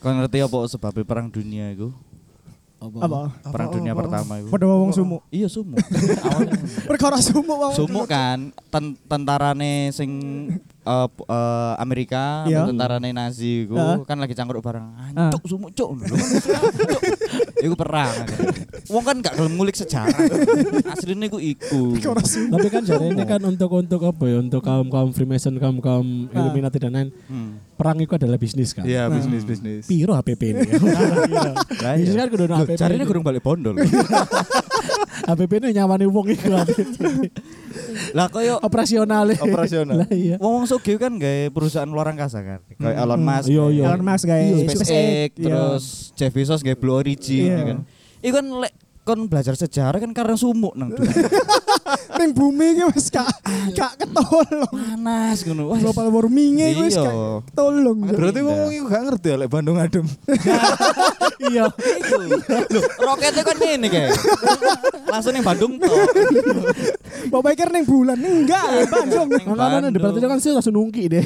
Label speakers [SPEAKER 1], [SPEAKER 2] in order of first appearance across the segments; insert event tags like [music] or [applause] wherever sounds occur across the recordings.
[SPEAKER 1] Kau ngerti apa sebab perang dunia itu?
[SPEAKER 2] Apa?
[SPEAKER 1] Perang dunia pertama itu.
[SPEAKER 2] Padha wong sumuk.
[SPEAKER 1] Iya
[SPEAKER 2] [laughs]
[SPEAKER 1] sumuk. Awalnya sumuk.
[SPEAKER 2] Perkara sumuk wong.
[SPEAKER 1] Sumuk kan ten tentarane sing eh, p- eh, Amerika,
[SPEAKER 2] Iya.
[SPEAKER 1] ambek tentarane Nazi iku
[SPEAKER 2] Heeh.
[SPEAKER 1] kan lagi cangkruk bareng.
[SPEAKER 2] Ah.
[SPEAKER 1] Ancuk sumuk cuk. Lho, kan maksudnya, cuk. Iku perang. akhirnya. Wong kan gak gelem ngulik sejarah. Asline iku iku.
[SPEAKER 2] Perkara sumuk.
[SPEAKER 3] Tapi [laughs] kan jarene kan untuk untuk apa ya untuk kaum kaum Freemason, kaum kaum
[SPEAKER 2] Ah.
[SPEAKER 3] Illuminati dan lain
[SPEAKER 1] Hmm.
[SPEAKER 3] perang itu adalah bisnis kan.
[SPEAKER 1] Iya, bisnis bisnis.
[SPEAKER 3] Piro HPP ini.
[SPEAKER 1] Lah
[SPEAKER 3] Bisnis
[SPEAKER 1] [laughs] iya.
[SPEAKER 3] kan kudu ono
[SPEAKER 1] Loh,
[SPEAKER 3] HPP.
[SPEAKER 1] jarine gurung balik
[SPEAKER 2] [laughs]
[SPEAKER 1] bondol.
[SPEAKER 3] HPP ini nyawani wong iku.
[SPEAKER 1] [laughs] Lah koyo
[SPEAKER 3] Operasional.
[SPEAKER 1] Operasional.
[SPEAKER 3] Lah iya.
[SPEAKER 1] wong sugih kan gawe perusahaan luar angkasa kan. Kayak Elon
[SPEAKER 3] Hmm.
[SPEAKER 1] Musk. kan.
[SPEAKER 3] Iya, iya.
[SPEAKER 2] Elon Musk guys.
[SPEAKER 3] Iya,
[SPEAKER 1] SpaceX
[SPEAKER 2] Iya.
[SPEAKER 1] terus Jeff Bezos nggak Blue Origin
[SPEAKER 2] Iya.
[SPEAKER 1] ya kan. Iku kan lek kon belajar sejarah kan karena sumuk nang dunia.
[SPEAKER 3] [laughs]
[SPEAKER 2] ning bumi iki wis gak gak ketolong.
[SPEAKER 1] panas ngono. Wah.
[SPEAKER 2] Global warming e wis
[SPEAKER 1] Iya.
[SPEAKER 2] gak ketolong.
[SPEAKER 4] Berarti
[SPEAKER 1] Indah.
[SPEAKER 4] ngomong iku gak ngerti ya lek Bandung adem.
[SPEAKER 3] [laughs] Iya.
[SPEAKER 1] Iku. Loh, roketnya kan ini kayak. Langsung yang Bandung toh.
[SPEAKER 2] Mbok pikir ning bulan
[SPEAKER 1] Eh,
[SPEAKER 2] enggak, Bandung.
[SPEAKER 1] Ning
[SPEAKER 3] Ono ono Iya, Nah,
[SPEAKER 1] Bandung.
[SPEAKER 3] di berarti kan sih langsung nungki deh.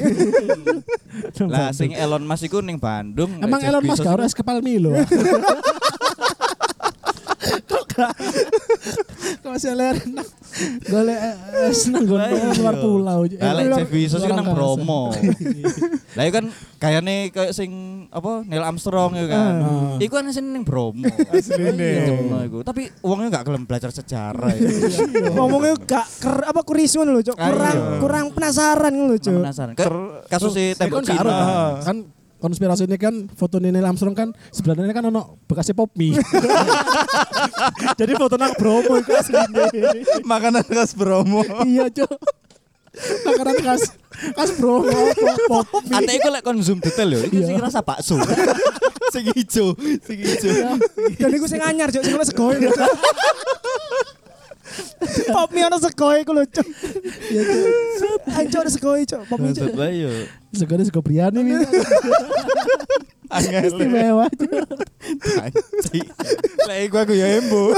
[SPEAKER 1] [laughs] Lah sing Elon Musk iku ning Bandung. lek
[SPEAKER 3] Emang
[SPEAKER 1] Jeff
[SPEAKER 3] Elon Musk
[SPEAKER 1] Bezos
[SPEAKER 3] gak ora es kepal
[SPEAKER 1] [laughs]
[SPEAKER 3] Milo. Kok masih leren Golek eh, es nang
[SPEAKER 1] Lah, iya.
[SPEAKER 3] gono luar pulau. Eh,
[SPEAKER 1] Lah lek
[SPEAKER 3] luar-
[SPEAKER 1] Jeff Bezos
[SPEAKER 3] luar
[SPEAKER 1] kan nang
[SPEAKER 3] angkasa. [laughs]
[SPEAKER 1] Bromo. Lah iku kan kayane kayak sing apa Neil Armstrong iku kan.
[SPEAKER 3] Ah.
[SPEAKER 1] Iku kan sing ning Bromo.
[SPEAKER 4] Asline.
[SPEAKER 1] Iya, Bromo iku. Tapi uangnya gak gelem belajar sejarah iya. iku.
[SPEAKER 2] Iya. Ngomongnya gak ker apa kuris ngono lho, Cuk.
[SPEAKER 1] Ah, iya.
[SPEAKER 2] Kurang kurang penasaran ngono lho, Cuk.
[SPEAKER 1] penasaran. Kayak kasus si
[SPEAKER 3] Eh,
[SPEAKER 1] tembok
[SPEAKER 3] kan gak
[SPEAKER 1] Cina.
[SPEAKER 3] ada, [laughs] kan? Kan konspirasi ini kan foto Neil Armstrong kan sebenarnya kan ono bekasnya pop mie. Jadi foto nang Bromo itu aslinya.
[SPEAKER 4] Makanan khas Bromo.
[SPEAKER 3] Iya, Cuk. Makanan khas khas Bromo pop pop mie.
[SPEAKER 1] Ate iku lek kon zoom detail yo, iki
[SPEAKER 3] Iya.
[SPEAKER 1] sing rasa bakso. Ya, sing ijo, sing ijo.
[SPEAKER 2] Dan iku sing anyar, Cuk, sing ono segoi lho, Cuk. Pop mie ono segoi iku lho, Cuk.
[SPEAKER 3] Iya, Cuk.
[SPEAKER 2] Ayo ono segoi, Cuk. Pop mie, Cuk.
[SPEAKER 1] Lah yo.
[SPEAKER 3] Segede sego biryani gitu.
[SPEAKER 4] Angel.
[SPEAKER 3] Istimewa, Cuk.
[SPEAKER 4] Lek iku aku ya embo.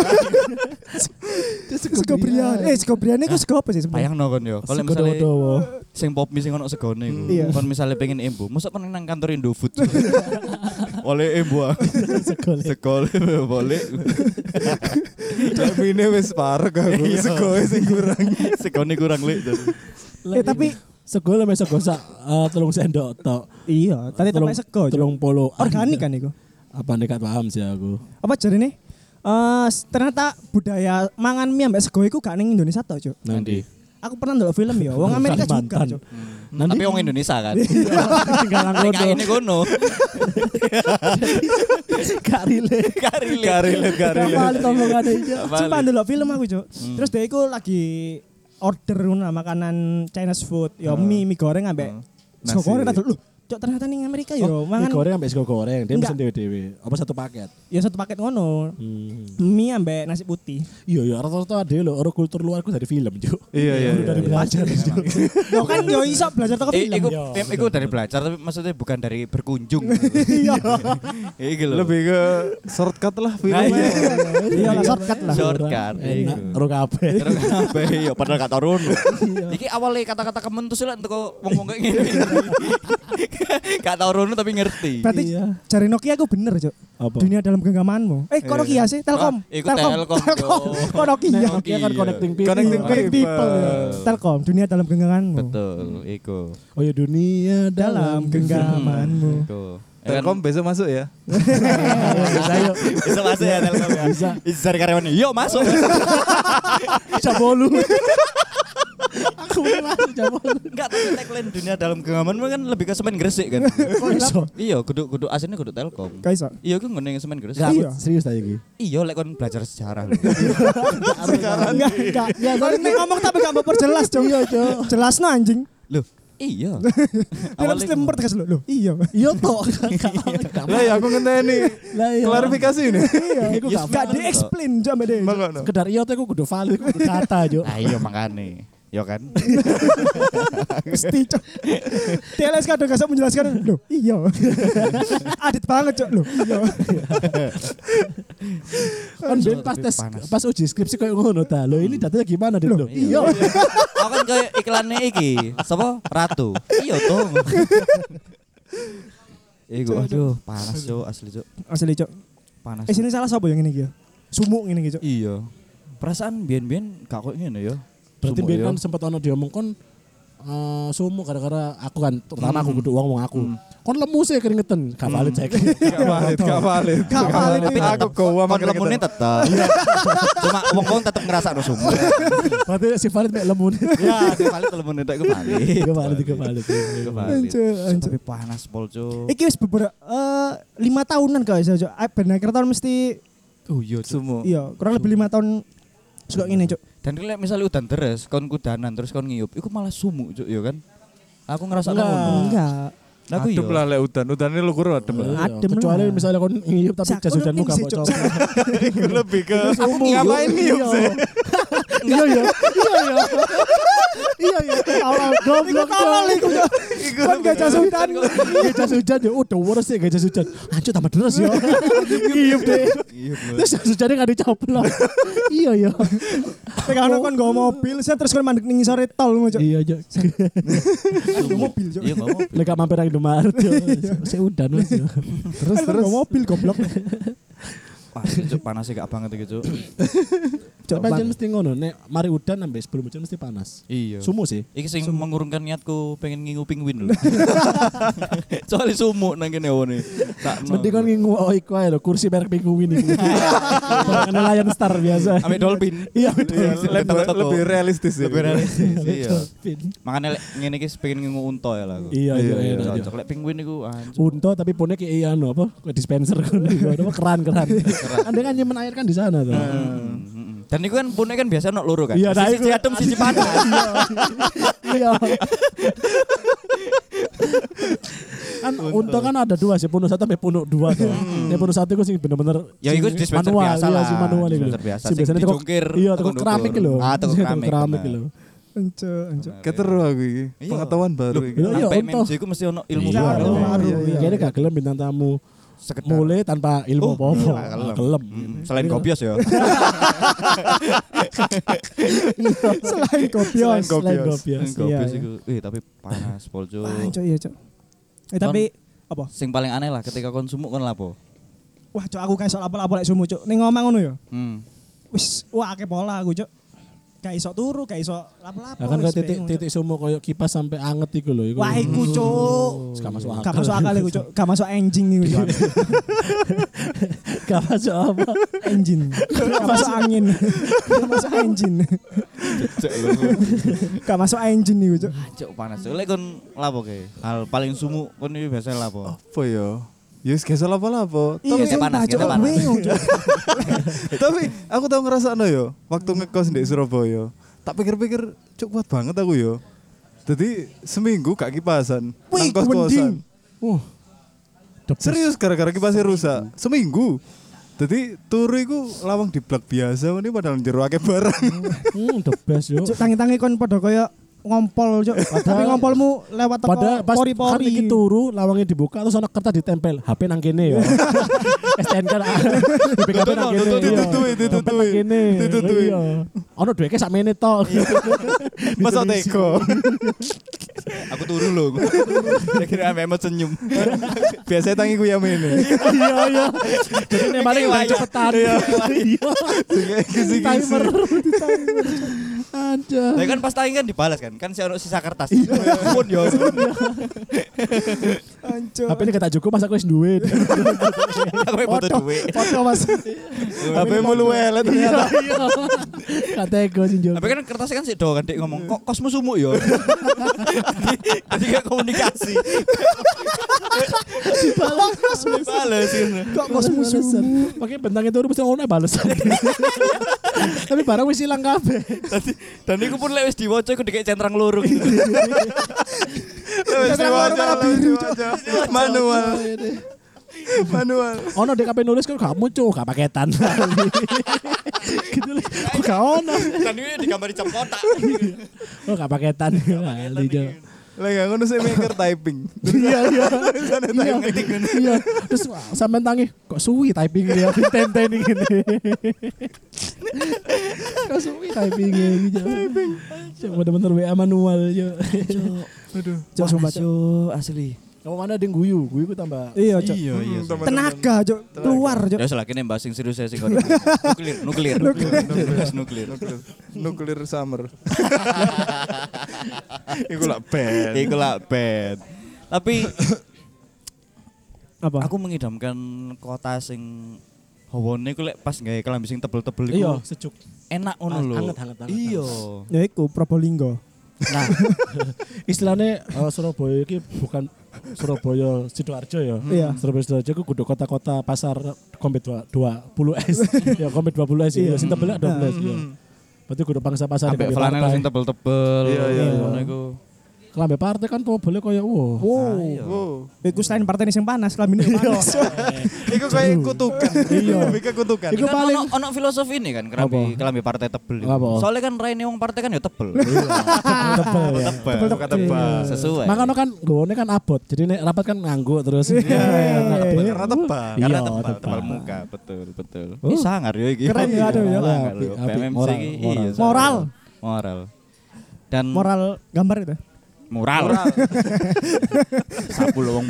[SPEAKER 2] Sego brian. Eh, sego brian iku sego apa sih sebenarnya?
[SPEAKER 1] Bayangno kon yo. Kalau
[SPEAKER 3] Sego
[SPEAKER 1] misalnya
[SPEAKER 3] dodowo.
[SPEAKER 1] sing pop mie sing ono segone iku.
[SPEAKER 2] Iya.
[SPEAKER 1] Kon misalnya pengen embo, mosok kon nang kantor Indofood. [laughs] Oleh embo. ah.
[SPEAKER 3] Sego le-
[SPEAKER 1] Sekol boleh.
[SPEAKER 4] Lek mine wis parek aku.
[SPEAKER 1] Iya.
[SPEAKER 4] Sego sing kurang.
[SPEAKER 1] Segone kurang lek.
[SPEAKER 2] Eh, tapi
[SPEAKER 3] sego le mesok gosak eh, telung sendok tok.
[SPEAKER 2] iya, tadi
[SPEAKER 3] Telung-
[SPEAKER 2] tempat sego, Cuk.
[SPEAKER 3] Telung gitu. polo.
[SPEAKER 2] Organik kan iku.
[SPEAKER 3] Apa nih gak paham sih aku.
[SPEAKER 2] Apa jarine? Eh, ternyata budaya mangan mie ambek sego iku gak ning Indonesia tok, Cuk.
[SPEAKER 3] Nanti.
[SPEAKER 2] Aku pernah ndelok film ya, wong Amerika juga,
[SPEAKER 3] Kalimantan.
[SPEAKER 2] Cuk. [laughs]
[SPEAKER 3] Nanti
[SPEAKER 1] Tapi wong Indonesia kan.
[SPEAKER 3] tinggal
[SPEAKER 1] Nek ini
[SPEAKER 3] angkot.
[SPEAKER 1] kono.
[SPEAKER 3] Gak relate.
[SPEAKER 1] Kari
[SPEAKER 4] Karilet karilet.
[SPEAKER 3] Kali tonggongan aja.
[SPEAKER 2] Sumpah ndelok film aku, Cuk. Terus dia iku lagi order ngono lah, makanan Chinese food, ya mie, mie goreng ambek sego
[SPEAKER 4] Nasi.
[SPEAKER 2] goreng tadi lho. Cuk, ternyata ning Amerika ya
[SPEAKER 3] Oh, mie
[SPEAKER 2] mangan
[SPEAKER 3] goreng sampai sego goreng, dia
[SPEAKER 2] Enggak.
[SPEAKER 3] pesen dewe-dewe. Apa satu paket?
[SPEAKER 2] ya satu paket ngono.
[SPEAKER 3] Hmm.
[SPEAKER 2] Mie ambek nasi putih.
[SPEAKER 3] Iya, iya, rata-rata ada loh, orang kultur luar aku dari film, Cuk.
[SPEAKER 4] Iya iya.
[SPEAKER 3] Guru
[SPEAKER 4] iya,
[SPEAKER 3] dari
[SPEAKER 4] iya.
[SPEAKER 3] belajar. Cuk.
[SPEAKER 2] Yo kan yo iso belajar teko
[SPEAKER 1] Eh,
[SPEAKER 2] film.
[SPEAKER 1] iku,
[SPEAKER 3] Iya,
[SPEAKER 1] eh, iku dari belajar tapi maksudnya bukan dari berkunjung.
[SPEAKER 2] Iya.
[SPEAKER 1] Iki lho.
[SPEAKER 4] Lebih ke shortcut lah
[SPEAKER 1] Nah, iya.
[SPEAKER 4] filmnya.
[SPEAKER 2] Iya lah shortcut lah.
[SPEAKER 1] shortcut.
[SPEAKER 3] Enak,
[SPEAKER 1] Iku.
[SPEAKER 3] orang kabeh.
[SPEAKER 1] [laughs] Terus kabeh ya padahal gak turun. Iki awalnya kata-kata kementus lah entuk wong-wong kayak ngene. [laughs] Gak tau runu tapi ngerti.
[SPEAKER 2] Berarti
[SPEAKER 3] Iya.
[SPEAKER 2] cari Nokia aku bener, Cuk.
[SPEAKER 3] Apa?
[SPEAKER 2] Dunia dalam genggamanmu. Eh, kok Nokia sih? [laughs] Telkom.
[SPEAKER 1] Ah, iku Telkom, Cuk.
[SPEAKER 2] Kok Nokia?
[SPEAKER 3] Nokia kan connecting people.
[SPEAKER 4] Connecting
[SPEAKER 2] Connecting people.
[SPEAKER 4] people.
[SPEAKER 2] Telkom, dunia dalam genggamanmu.
[SPEAKER 1] Betul, iku.
[SPEAKER 3] Oh ya dunia
[SPEAKER 2] Dalam
[SPEAKER 3] dalam
[SPEAKER 2] genggamanmu.
[SPEAKER 1] Iku. Ya
[SPEAKER 4] Telkom
[SPEAKER 1] kan,
[SPEAKER 4] besok masuk ya.
[SPEAKER 3] Iya, Saya
[SPEAKER 1] Bisa masuk ya Telkom ya.
[SPEAKER 3] Bisa.
[SPEAKER 1] Bisa dari karyawan. Yuk
[SPEAKER 3] [laughs]
[SPEAKER 1] masuk.
[SPEAKER 3] cabolu. iya. Aku masuk cabolu.
[SPEAKER 1] Enggak tapi tagline dunia dalam genggamanmu kan lebih ke semen Gresik kan.
[SPEAKER 3] Kok iso?
[SPEAKER 1] Iya, kudu kudu aslinya kudu Telkom.
[SPEAKER 2] Kaiso.
[SPEAKER 1] Iya, iku ngene yang semen Gresik.
[SPEAKER 3] Enggak, aku
[SPEAKER 2] Iya.
[SPEAKER 3] serius tadi iki.
[SPEAKER 1] Iya, lek kon belajar sejarah lho.
[SPEAKER 3] [laughs]
[SPEAKER 2] Enggak, enggak. Ya, sorry, nek ngomong tapi gak mau perjelas, Cuk. Iya, Cuk. Jelas no anjing.
[SPEAKER 1] Loh, iya.
[SPEAKER 2] Dalam
[SPEAKER 1] Awalnya-
[SPEAKER 2] mesti mempertegas lo. Loh, iya.
[SPEAKER 3] Iya toh.
[SPEAKER 4] Lah ya aku ngenteni.
[SPEAKER 3] Lah iya.
[SPEAKER 4] Klarifikasi [laughs] ini.
[SPEAKER 3] Iya, aku
[SPEAKER 1] Yes,
[SPEAKER 3] gak
[SPEAKER 2] Gak
[SPEAKER 3] paham.
[SPEAKER 2] di-explain jam deh.
[SPEAKER 4] Mangkono.
[SPEAKER 3] Sekedar iya tuh aku kudu valid, aku kudu kata Cuk.
[SPEAKER 1] Nah, iya makane. Ya kan?
[SPEAKER 2] Mesti, Cuk. TLS kadang gak bisa menjelaskan. Loh, iya. [laughs] Adit banget, Cuk. Loh, iya.
[SPEAKER 3] Kan ben pas tes pas uji skripsi kayak ngono ta. Loh ini datanya gimana Dit? Loh. Iya.
[SPEAKER 1] Aku kan kayak iklannya iki, sapa? Ratu. Iya toh. Iku
[SPEAKER 2] Cuk,
[SPEAKER 1] aduh panas cuk asli cuk.
[SPEAKER 2] Asli cok.
[SPEAKER 1] Panas.
[SPEAKER 2] Eh sini salah sapa yang ini iki ya? Sumuk ngene iki cok.
[SPEAKER 1] Iya. Perasaan biyen-biyen gak kok ngene ya.
[SPEAKER 3] Berarti
[SPEAKER 1] Sumpuk
[SPEAKER 3] biar
[SPEAKER 1] ya.
[SPEAKER 3] kan sempat ono diomong kon eh sumu gara-gara aku kan terutama aku
[SPEAKER 1] Hmm.
[SPEAKER 3] kudu uang uang aku.
[SPEAKER 1] Hmm.
[SPEAKER 3] Kon lemu sih keringetan, gak valid cek.
[SPEAKER 4] Gak valid, gak valid.
[SPEAKER 2] Gak Iya. valid.
[SPEAKER 1] Tapi
[SPEAKER 4] Aku
[SPEAKER 1] tetep,
[SPEAKER 4] gowa
[SPEAKER 1] kon
[SPEAKER 4] makin
[SPEAKER 1] lemune
[SPEAKER 4] ketemu.
[SPEAKER 1] tetep. Cuma wong kon tetep ngerasa no
[SPEAKER 2] [laughs]
[SPEAKER 1] sumur.
[SPEAKER 3] Berarti si valid mek lemu.
[SPEAKER 2] Iya.
[SPEAKER 1] [laughs] Ya, si valid lemune tek kembali.
[SPEAKER 3] Gak valid, gak valid. Iya.
[SPEAKER 1] Iku valid.
[SPEAKER 2] Ancuk, ancuk.
[SPEAKER 1] Tapi panas pol cuk.
[SPEAKER 2] Iki wis beberapa eh, lima tahunan kok iso cok. Eh, Ben akhir tahun mesti
[SPEAKER 1] Oh iya sumur.
[SPEAKER 2] iya kurang lebih lima tahun suka ngene cok.
[SPEAKER 1] Dan lek misalnya udan deres, kon kudanan terus kon ngiyup, iku malah sumuk cuk ya kan. Aku ngerasa
[SPEAKER 3] Enggak.
[SPEAKER 1] ngono.
[SPEAKER 2] Enggak.
[SPEAKER 1] Lah Aku
[SPEAKER 4] Adem lah
[SPEAKER 1] iya.
[SPEAKER 4] lek udan. Udan ini lu kuru adem lah.
[SPEAKER 3] Iya,
[SPEAKER 2] Adem
[SPEAKER 3] Kecuali
[SPEAKER 2] lah.
[SPEAKER 3] misalnya kon ngiyup tapi
[SPEAKER 2] Sak-
[SPEAKER 3] jas udanmu
[SPEAKER 2] kudu
[SPEAKER 3] gak
[SPEAKER 2] sih, Cuk.
[SPEAKER 3] bocor. [laughs]
[SPEAKER 4] Iku lebih ke
[SPEAKER 1] Aku
[SPEAKER 4] ngapain nih
[SPEAKER 2] [laughs]
[SPEAKER 4] sih?
[SPEAKER 3] Iya iya. Iya iya. Iya iya. Awal goblok.
[SPEAKER 2] Tolol iku cok. Kan gak jas hutan.
[SPEAKER 3] Gak jas hujan ya udah worst ya gak jas hujan. Hancur tambah deres ya. Ngiyup deh. Terus jas hujannya gak dicoplok. Iya iya.
[SPEAKER 2] Tek ana kon nggawa kan mobil set terus kon mandek ning sore tol ngono cok.
[SPEAKER 3] Iya iya.
[SPEAKER 1] mobil cuk. Iya nggak
[SPEAKER 3] [laughs]
[SPEAKER 1] mobil.
[SPEAKER 3] Lek gak mampir nang Indomaret yo. Sik udan wis yo.
[SPEAKER 2] Terus terus mobil goblok.
[SPEAKER 1] Wah, cuk panasnya gak banget iki
[SPEAKER 3] [clears throat]
[SPEAKER 1] cuk.
[SPEAKER 2] Cok.
[SPEAKER 3] Tapi aja mesti ngono nek mari udan sampai sebelum hujan mesti panas.
[SPEAKER 1] Iya.
[SPEAKER 3] Sumu sih.
[SPEAKER 1] Iki sing mengurungkan niatku pengen ngingu
[SPEAKER 3] [laughs]
[SPEAKER 1] penguin lho. [laughs] Soalnya sumuk nang kene wone. Tak no.
[SPEAKER 3] Mending kon ngingu oh iku ae lho kursi merek pinguin iki. Kena layan star biasa.
[SPEAKER 1] Ambil dolphin.
[SPEAKER 3] [laughs] Iya
[SPEAKER 4] Iya,
[SPEAKER 3] betul.
[SPEAKER 4] Lebih
[SPEAKER 1] Toko-toko.
[SPEAKER 4] lebih realistis sih.
[SPEAKER 1] Lebih
[SPEAKER 3] [laughs]
[SPEAKER 1] realistis. Iya.
[SPEAKER 3] Dolphin.
[SPEAKER 1] Makanya lek ngene iki pengen ngingu unta ya lah aku.
[SPEAKER 3] Iya iya
[SPEAKER 4] Iya,
[SPEAKER 3] enak, iya.
[SPEAKER 1] Cocok lek penguin iku anjir.
[SPEAKER 3] Unta tapi punya kayak iya anu apa kayak dispenser [laughs] kan apa keran keran. Anda kan nyimpen air kan di sana tuh.
[SPEAKER 1] Hmm, Dan itu kan punya kan biasa nok loro kan.
[SPEAKER 3] Iya, nah
[SPEAKER 1] sisi
[SPEAKER 3] itu-
[SPEAKER 1] adem sisi
[SPEAKER 3] [laughs]
[SPEAKER 1] panas. [laughs]
[SPEAKER 3] Iya. kan unta kan ada dua sih punuk satu sampai punuk dua tuh. Nek punuk satu itu sih bener-bener
[SPEAKER 1] Hmm. Ya itu
[SPEAKER 3] sing
[SPEAKER 1] dispenser biasa
[SPEAKER 3] iya,
[SPEAKER 1] lah.
[SPEAKER 3] sing manual itu.
[SPEAKER 1] Dispenser biasa,
[SPEAKER 3] Sing
[SPEAKER 1] sing
[SPEAKER 3] biasanya teko-
[SPEAKER 1] dijungkir,
[SPEAKER 3] Iya,
[SPEAKER 1] teko
[SPEAKER 3] toko keramik
[SPEAKER 1] ndukur.
[SPEAKER 3] lho.
[SPEAKER 1] Ah, teko
[SPEAKER 3] Teko
[SPEAKER 1] keramik,
[SPEAKER 3] keramik
[SPEAKER 1] benar.
[SPEAKER 3] lho.
[SPEAKER 2] Ancuk ancuk.
[SPEAKER 4] Nah, Keteru aku iki.
[SPEAKER 1] Iya.
[SPEAKER 4] Pengetahuan baru iki.
[SPEAKER 3] Iya,
[SPEAKER 1] Sampai
[SPEAKER 3] unta.
[SPEAKER 1] MMJ ku mesti ono ilmu
[SPEAKER 3] Iya,
[SPEAKER 1] baru.
[SPEAKER 3] lho,
[SPEAKER 2] baru,
[SPEAKER 3] iya,
[SPEAKER 2] iya.
[SPEAKER 3] Kayaknya gak gelem bintang tamu
[SPEAKER 1] Sekedar.
[SPEAKER 3] mulai tanpa
[SPEAKER 1] Oh,
[SPEAKER 3] ilmu apa-apa.
[SPEAKER 1] iya, gelem.
[SPEAKER 3] Gelem.
[SPEAKER 1] Hmm, Selain kopios
[SPEAKER 3] [laughs]
[SPEAKER 1] ya.
[SPEAKER 2] Selain kopios.
[SPEAKER 3] Iya. Selain
[SPEAKER 4] Gobios.
[SPEAKER 3] gobios.
[SPEAKER 1] Kopios
[SPEAKER 2] iya.
[SPEAKER 1] iku. Eh tapi panas poljo.
[SPEAKER 2] Wah, cok iya cok. Eh tapi apa?
[SPEAKER 1] Sing paling aneh lah ketika kon sumuk kon lapo.
[SPEAKER 2] Wah cok aku kayak soal apa-apa lek sumu cok. Ning ngomong ngono ya.
[SPEAKER 1] Hmm.
[SPEAKER 2] Wis wah akeh pola aku cok. Gak iso turu, gak iso lapo-lapo.
[SPEAKER 3] Ya kan
[SPEAKER 2] wis
[SPEAKER 3] kayak titik
[SPEAKER 2] bingung, Cuk.
[SPEAKER 3] titik sumo koyo kipas sampai anget iku lho iku.
[SPEAKER 2] Wah
[SPEAKER 3] [laughs]
[SPEAKER 2] iku cuk.
[SPEAKER 3] Gak masuk akal.
[SPEAKER 2] Gak masuk akal iku cok. Gak masuk anjing iku cok.
[SPEAKER 3] Gak masuk apa.
[SPEAKER 2] Engine. Gak masuk angin. Gak masuk engine.
[SPEAKER 1] Cek
[SPEAKER 2] Gak masuk engine iku cok.
[SPEAKER 1] Cek Ah, panas. Lek kon lapo ke? Hal paling sumuk kon iki biasa [laughs]
[SPEAKER 3] Oh,
[SPEAKER 1] lapo.
[SPEAKER 4] Apa ya? Ya wis gak salah apa-apa.
[SPEAKER 2] Iya,
[SPEAKER 1] kita
[SPEAKER 2] sumpah,
[SPEAKER 1] panas, kita
[SPEAKER 2] Cuk.
[SPEAKER 1] panas.
[SPEAKER 2] Bingung, Cuk.
[SPEAKER 4] [laughs] Tapi aku tau ngerasakno yo, waktu ngekos di Surabaya. Tak pikir-pikir cuk kuat banget aku yo. Jadi seminggu gak kipasan, nang
[SPEAKER 2] Wih,
[SPEAKER 4] kos-kosan.
[SPEAKER 2] mending.
[SPEAKER 3] Wah. Debes.
[SPEAKER 4] Serius gara-gara kipasnya rusak. Seminggu. Jadi turu iku lawang diblak biasa ini padahal jero akeh barang. [laughs]
[SPEAKER 3] Hmm, the best yo.
[SPEAKER 2] Cuk, tangi-tangi kon padha koyo ngompol, Cuk. Tapi ngompolmu lewat teko
[SPEAKER 3] Padahal pas kan
[SPEAKER 2] pori-pori.
[SPEAKER 3] iki turu lawangnya dibuka terus ana kertas ditempel HP nang
[SPEAKER 1] [laughs]
[SPEAKER 3] kene ya. yo. STNK lah. BPKB nang
[SPEAKER 4] Ditutup,
[SPEAKER 3] kene.
[SPEAKER 4] ditutup,
[SPEAKER 3] iya.
[SPEAKER 4] ditutui,
[SPEAKER 3] Dompet nang
[SPEAKER 4] ditutui,
[SPEAKER 3] kene.
[SPEAKER 4] ditutui.
[SPEAKER 3] Iya. Ono duweke sak menit tok.
[SPEAKER 1] Iya.
[SPEAKER 3] [laughs]
[SPEAKER 4] Masa teko.
[SPEAKER 1] Aku turu lho.
[SPEAKER 3] [laughs]
[SPEAKER 1] Kira-kira memet senyum. [laughs]
[SPEAKER 4] Biasanya tangi ku
[SPEAKER 1] ya
[SPEAKER 4] yang ini.
[SPEAKER 3] Iya iya. Jadi nek paling
[SPEAKER 1] Iya,
[SPEAKER 3] udah
[SPEAKER 1] iya.
[SPEAKER 3] cepetan. Iya. Timer. Aja.
[SPEAKER 1] Lah kan pas tangi kan dibalas kan. Kan si ono sisa kertas.
[SPEAKER 3] Iya.
[SPEAKER 1] Pun yo.
[SPEAKER 2] Anco.
[SPEAKER 3] HP ini kata cukup masa aku wis duwe.
[SPEAKER 1] [laughs] Aku yang butuh duit.
[SPEAKER 2] Foto Mas.
[SPEAKER 4] HP mu luwelet ternyata. [laughs]
[SPEAKER 3] Iya iya. Kata ego sih
[SPEAKER 1] Tapi kan kertasnya kan sih do kan dek ngomong kok kosmu sumuk
[SPEAKER 4] [laughs]
[SPEAKER 1] yo. Jadi kayak komunikasi. Balas
[SPEAKER 2] Kok kosmu sumu?
[SPEAKER 3] Pakai bentang itu mesti ngono
[SPEAKER 1] [laughs]
[SPEAKER 3] balesan. Tapi barang wis ilang kabeh.
[SPEAKER 1] Tadi dan iku pun lek wis diwaca iku dikek centrang loro gitu.
[SPEAKER 4] Wis diwaca, wis diwaca. [laughs] Manual, manual.
[SPEAKER 3] Ono DKP nulis kan gak muncul, gak paketan. [laughs] gitu lho. Kok gak ono.
[SPEAKER 1] Dan ini digambar jam kotak.
[SPEAKER 3] Oh gak paketan. Lali, Jo.
[SPEAKER 4] Lah gak ngono sih mikir typing.
[SPEAKER 3] Iya iya. Iya.
[SPEAKER 1] ngetik
[SPEAKER 3] Iya. Terus sampean tangi kok suwi typing dia [laughs] tenten ini. Kok suwi typing ya ini. Typing. Bener-bener WA manual. Jo.
[SPEAKER 1] Aduh,
[SPEAKER 2] Cok, sumpah,
[SPEAKER 1] panas, yo asli.
[SPEAKER 3] Kamu mana ada yang guyu, guyu ku tambah.
[SPEAKER 2] Iya, Cok.
[SPEAKER 4] Iya, iya. Cok.
[SPEAKER 2] Tenaga, Cok. Keluar, Cok.
[SPEAKER 1] Ya salah kene bahas sing serius sing kono. Nuklir, nuklir. Bahas nuklir.
[SPEAKER 4] Nuklir, nuklir summer. [laughs] Iku lah band.
[SPEAKER 1] Iku lah band. Tapi
[SPEAKER 2] Apa?
[SPEAKER 1] aku mengidamkan kota sing hawane ku lek pas gawe kelambi sing tebel-tebel iku.
[SPEAKER 3] Iya, sejuk.
[SPEAKER 1] Enak ngono lho.
[SPEAKER 3] Anget, anget, anget,
[SPEAKER 1] Iya.
[SPEAKER 2] Ya iku Probolinggo.
[SPEAKER 3] Nah, [laughs] istilahnya eh, Surabaya ini bukan Surabaya Sidoarjo ya.
[SPEAKER 2] Iya.
[SPEAKER 3] Surabaya Sidoarjo itu kudu kota-kota pasar kompet 20 S. [laughs] ya kompet 20 S.
[SPEAKER 2] Iya.
[SPEAKER 3] Ya, sing tebelnya 12 ya. Berarti kudu bangsa pasar
[SPEAKER 1] Ambek flanel sing tebel-tebel.
[SPEAKER 4] Iya, iya, iya.
[SPEAKER 1] Ngono iku.
[SPEAKER 3] Kelambe partai kan tuh boleh kayak [laughs] wow.
[SPEAKER 2] Wow.
[SPEAKER 4] Ah, iya. Wow.
[SPEAKER 2] Iku selain partai ini yang panas, kelamin yang panas.
[SPEAKER 4] Iku kayak kutukan. [laughs]
[SPEAKER 3] Iya.
[SPEAKER 4] Lebih ke kutukan.
[SPEAKER 1] Iku
[SPEAKER 3] Iku paling-
[SPEAKER 1] paling Kan ono, ono filosofi ini kan kelambi kelambi partai tebel. iku.
[SPEAKER 3] Apa?
[SPEAKER 1] Soalnya kan raine wong partai kan ya tebel.
[SPEAKER 3] Tebel ya.
[SPEAKER 1] Tebel.
[SPEAKER 4] Tebel, tebel.
[SPEAKER 1] Sesuai.
[SPEAKER 3] Makanya kan gowone kan abot. Jadi nek rapat kan nganggo terus. Iya.
[SPEAKER 4] Tebal, Karena tebal.
[SPEAKER 1] Karena
[SPEAKER 3] Iya,
[SPEAKER 1] tebal,
[SPEAKER 3] tebal.
[SPEAKER 1] tebal muka, betul, betul. Ini sangar ya iki.
[SPEAKER 2] Keren ya, aduh, ya.
[SPEAKER 1] Sangar
[SPEAKER 3] Apik,
[SPEAKER 1] ya.
[SPEAKER 3] apik.
[SPEAKER 1] PMMC
[SPEAKER 3] Moral,
[SPEAKER 1] iki,
[SPEAKER 3] moral.
[SPEAKER 1] iya, sangar.
[SPEAKER 2] Moral.
[SPEAKER 1] Moral. Dan
[SPEAKER 2] Moral gambar itu.
[SPEAKER 1] moral. [laughs] Sapu lowong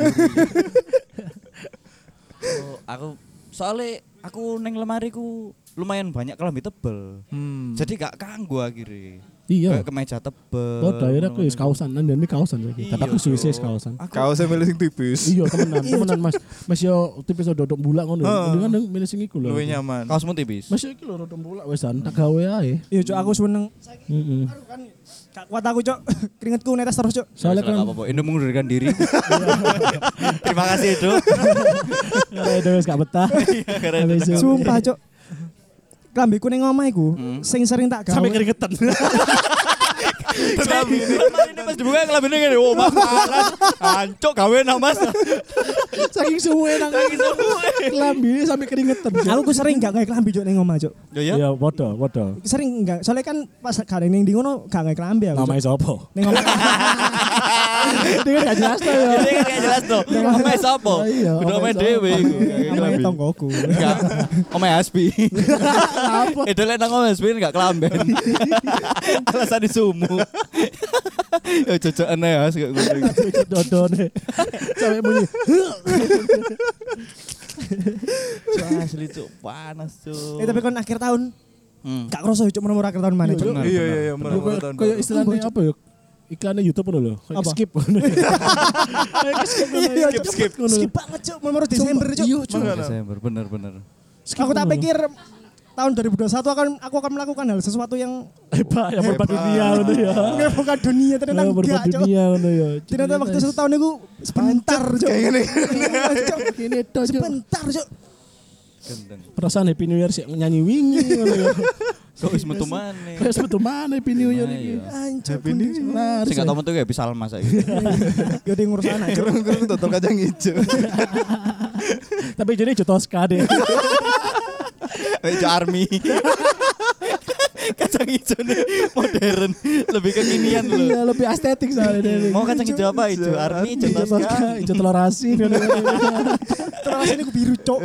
[SPEAKER 1] Oh, Aku soalnya aku neng lemari ku lumayan banyak kelambi tebel.
[SPEAKER 4] Hmm.
[SPEAKER 1] Jadi gak kanggu akhirnya.
[SPEAKER 3] Iya.
[SPEAKER 1] Kayak kemeja tebel.
[SPEAKER 3] Oh, daerah aku wis kausan, dan ini kausan lagi.
[SPEAKER 1] Iya,
[SPEAKER 3] Tapi aku suwise wis
[SPEAKER 1] Cuk.
[SPEAKER 3] kausan.
[SPEAKER 1] Aku
[SPEAKER 4] Kaosnya milih sing tipis.
[SPEAKER 3] Iya, temenan, temenan Mas. Mas yo tipis yo dodok bulak ngono.
[SPEAKER 4] Heeh.
[SPEAKER 3] Mendingan dong milih sing iku lho.
[SPEAKER 4] Lebih nyaman.
[SPEAKER 1] kaosmu tipis.
[SPEAKER 3] Mas yo iki lho dodok bulak wis an tak gawe ae.
[SPEAKER 2] Iya, Cok, aku seneng.
[SPEAKER 3] Heeh.
[SPEAKER 2] Aduh, kan gak kuat aku, Cok. [laughs] Keringetku netes terus, Cok.
[SPEAKER 3] Soalnya
[SPEAKER 1] Nggak
[SPEAKER 3] kan
[SPEAKER 1] apa-apa. Ini mengundurkan
[SPEAKER 3] [laughs]
[SPEAKER 1] diri. Terima kasih itu.
[SPEAKER 3] Ayo, wis gak
[SPEAKER 4] [laughs]
[SPEAKER 3] betah. Habis itu-
[SPEAKER 2] Sumpah, Cok. Kelambiku ning omah iku,
[SPEAKER 1] Hmm.
[SPEAKER 4] Mm.
[SPEAKER 2] sing sering tak gawe.
[SPEAKER 3] sampai
[SPEAKER 4] [laughs]
[SPEAKER 3] keringetan.
[SPEAKER 1] Kelambi ini. Lemari ini pas dibuka kelambi ini gini. Oh mas panas. Ancok gawe nak mas.
[SPEAKER 3] Saking suwe nang
[SPEAKER 1] Lagi semua.
[SPEAKER 3] kelambi sampai keringetan.
[SPEAKER 2] Aku ku sering gak gawe kelambi, Cok, ning omah, Cok.
[SPEAKER 1] Ya
[SPEAKER 4] Iya.
[SPEAKER 1] [laughs] ya.
[SPEAKER 3] ya bodoh, bodoh.
[SPEAKER 2] Sering gak. Soalnya kan pas gak ning ndi ngono gak gawe kelambi aku. Cok.
[SPEAKER 3] Namanya [laughs] sapa?
[SPEAKER 2] Ning omah.
[SPEAKER 3] Ini kan gak jelas tuh ya.
[SPEAKER 1] Ini kan gak jelas tuh. Omai sopo.
[SPEAKER 3] Oh, iya,
[SPEAKER 1] Udah omai
[SPEAKER 3] omahe
[SPEAKER 1] dewe.
[SPEAKER 3] sopo.
[SPEAKER 2] Namanya ya tonggoku.
[SPEAKER 1] Enggak. Omai Hasbi.
[SPEAKER 3] Apa?
[SPEAKER 1] Itu lek nang omai Hasbi enggak kelamben. Alasan disumu. Ya cocok aneh ya. kayak gue.
[SPEAKER 4] [laughs]
[SPEAKER 3] Dodone. Sampai bunyi.
[SPEAKER 1] Cuk, Asli cuk panas cuk.
[SPEAKER 2] Eh tapi kan akhir tahun
[SPEAKER 1] Hmm.
[SPEAKER 2] gak kerasa ya, Cok, menomor akhir tahun mana, Cok.
[SPEAKER 1] Bener,
[SPEAKER 4] Iya
[SPEAKER 1] bener,
[SPEAKER 4] iya iya.
[SPEAKER 1] bener.
[SPEAKER 4] Menurut tahun
[SPEAKER 3] Kayak
[SPEAKER 4] baru.
[SPEAKER 3] istilahnya apa ya? Iklannya YouTube ngono lho. Kayak
[SPEAKER 2] Apa? [laughs]
[SPEAKER 3] Skip. Kayak skip.
[SPEAKER 2] Iya, Cok.
[SPEAKER 4] skip.
[SPEAKER 3] ngono.
[SPEAKER 2] Skip banget, Cok. Menomor Desember, Cok.
[SPEAKER 3] Iya, Cuk.
[SPEAKER 1] Cuk, Desember bener-bener.
[SPEAKER 3] Skip
[SPEAKER 2] Aku tak
[SPEAKER 3] ngono.
[SPEAKER 2] pikir tahun 2021 akan aku akan melakukan hal sesuatu yang
[SPEAKER 3] hebat yang merubah dunia ngono ya.
[SPEAKER 2] bukan dunia ternyata
[SPEAKER 3] Yang merubah
[SPEAKER 2] enggak, Cok.
[SPEAKER 3] dunia ngono ya.
[SPEAKER 2] Ternyata waktu satu tahun itu sebentar, Iya, Cok. Cok.
[SPEAKER 3] ini tok Cuk.
[SPEAKER 2] Sebentar, Cok.
[SPEAKER 1] Gendeng.
[SPEAKER 3] perasaan Happy New Year sih nyanyi wingi ngono ya.
[SPEAKER 1] Kok wis metu maneh.
[SPEAKER 3] Kayak sebetulnya mana Happy New Year
[SPEAKER 1] Nah,
[SPEAKER 3] iki.
[SPEAKER 1] iya.
[SPEAKER 2] Anjir.
[SPEAKER 4] Happy New Year.
[SPEAKER 3] Nah,
[SPEAKER 1] Sing
[SPEAKER 3] harus
[SPEAKER 1] gak tau
[SPEAKER 3] ya.
[SPEAKER 1] metu ya bisa almas saiki.
[SPEAKER 2] Ya dia ngurus anak, Cok.
[SPEAKER 4] Kerung-kerung total kacang hijau.
[SPEAKER 3] tapi jadi Jotoska deh.
[SPEAKER 1] Meja army. kacang hijau nih modern, lebih kekinian loh.
[SPEAKER 3] Iya, lebih estetik soalnya deh.
[SPEAKER 1] Iya. Mau kacang hijau apa? Hijau army, hijau naska.
[SPEAKER 3] Jotoska, hijau telur asin.
[SPEAKER 2] Terus ini aku biru, Cok.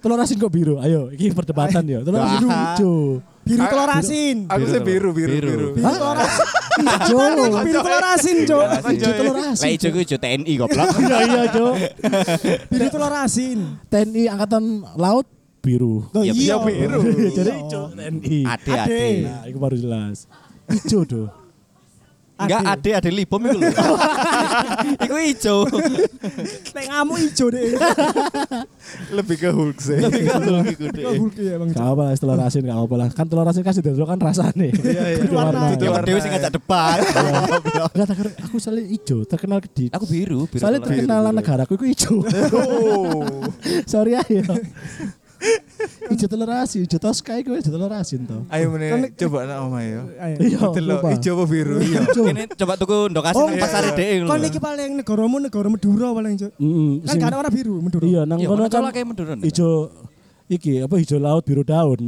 [SPEAKER 3] telur asin kok biru? Ayo, ini perdebatan ya. Telur asin
[SPEAKER 1] Ah.
[SPEAKER 3] hijau.
[SPEAKER 2] Biru telur asin.
[SPEAKER 4] Aku sih biru biru
[SPEAKER 1] Biru.
[SPEAKER 4] biru.
[SPEAKER 2] Biru telur asin. Apaan aku biru telur asin, Cok.
[SPEAKER 1] Iya,
[SPEAKER 3] Hijau telur
[SPEAKER 1] Lah
[SPEAKER 3] asin.
[SPEAKER 1] hijau ku hijau TNI goblok.
[SPEAKER 3] Iya, iya, Jo.
[SPEAKER 2] Biru telur asin.
[SPEAKER 3] TNI Angkatan Laut biru.
[SPEAKER 2] Loh,
[SPEAKER 1] Iya,
[SPEAKER 4] Ya biru.
[SPEAKER 3] [laughs] Jadi hijau TNI.
[SPEAKER 1] Ade ade.
[SPEAKER 3] Nah, itu baru jelas. Hijau tuh.
[SPEAKER 1] Enggak ade ade libom itu loh. [laughs] Iku hijau.
[SPEAKER 2] Nek ngamu hijau deh.
[SPEAKER 4] [laughs] Lebih ke Hulk sih.
[SPEAKER 1] Tapi kan lu iku
[SPEAKER 2] Kok
[SPEAKER 1] deh.
[SPEAKER 2] hulki ya, Bang. Cok.
[SPEAKER 3] Gak apa lah, telur asin gak apa lah. Kan telur asin kasih dulu kan rasanya.
[SPEAKER 4] iya.
[SPEAKER 3] Beda warna.
[SPEAKER 2] Warna.
[SPEAKER 1] Ya dewe sing ngajak debat. Goblok.
[SPEAKER 3] Enggak tak kira- aku soalnya hijau, terkenal ke di.
[SPEAKER 1] Aku biru, biru.
[SPEAKER 3] Soalnya
[SPEAKER 1] telur.
[SPEAKER 3] terkenal negaraku itu hijau.
[SPEAKER 4] Oh.
[SPEAKER 3] Sorry ya, ayo. hijau telur asin, hijau toska itu hijau telur asin toh.
[SPEAKER 4] [laughs] Ayo meneh coba nak omah ya.
[SPEAKER 2] Ayo.
[SPEAKER 3] Iya,
[SPEAKER 4] Delok
[SPEAKER 3] lupa.
[SPEAKER 4] ijo apa biru?
[SPEAKER 3] [laughs]
[SPEAKER 1] Iya.
[SPEAKER 3] Hijau.
[SPEAKER 1] Ini coba tuku ndok kasih
[SPEAKER 2] Oh,
[SPEAKER 1] nang pasar
[SPEAKER 4] iya.
[SPEAKER 1] dhek
[SPEAKER 2] Kon iki paling negaramu negara Madura paling, Cok.
[SPEAKER 3] Mm-mm,
[SPEAKER 2] Kan
[SPEAKER 3] sing-
[SPEAKER 2] gak ada warna biru Madura.
[SPEAKER 3] Iya, nang
[SPEAKER 1] Iya,
[SPEAKER 3] kono
[SPEAKER 1] ono
[SPEAKER 3] kan
[SPEAKER 1] colake mendoron.
[SPEAKER 3] hijau iki apa hijau laut biru daun.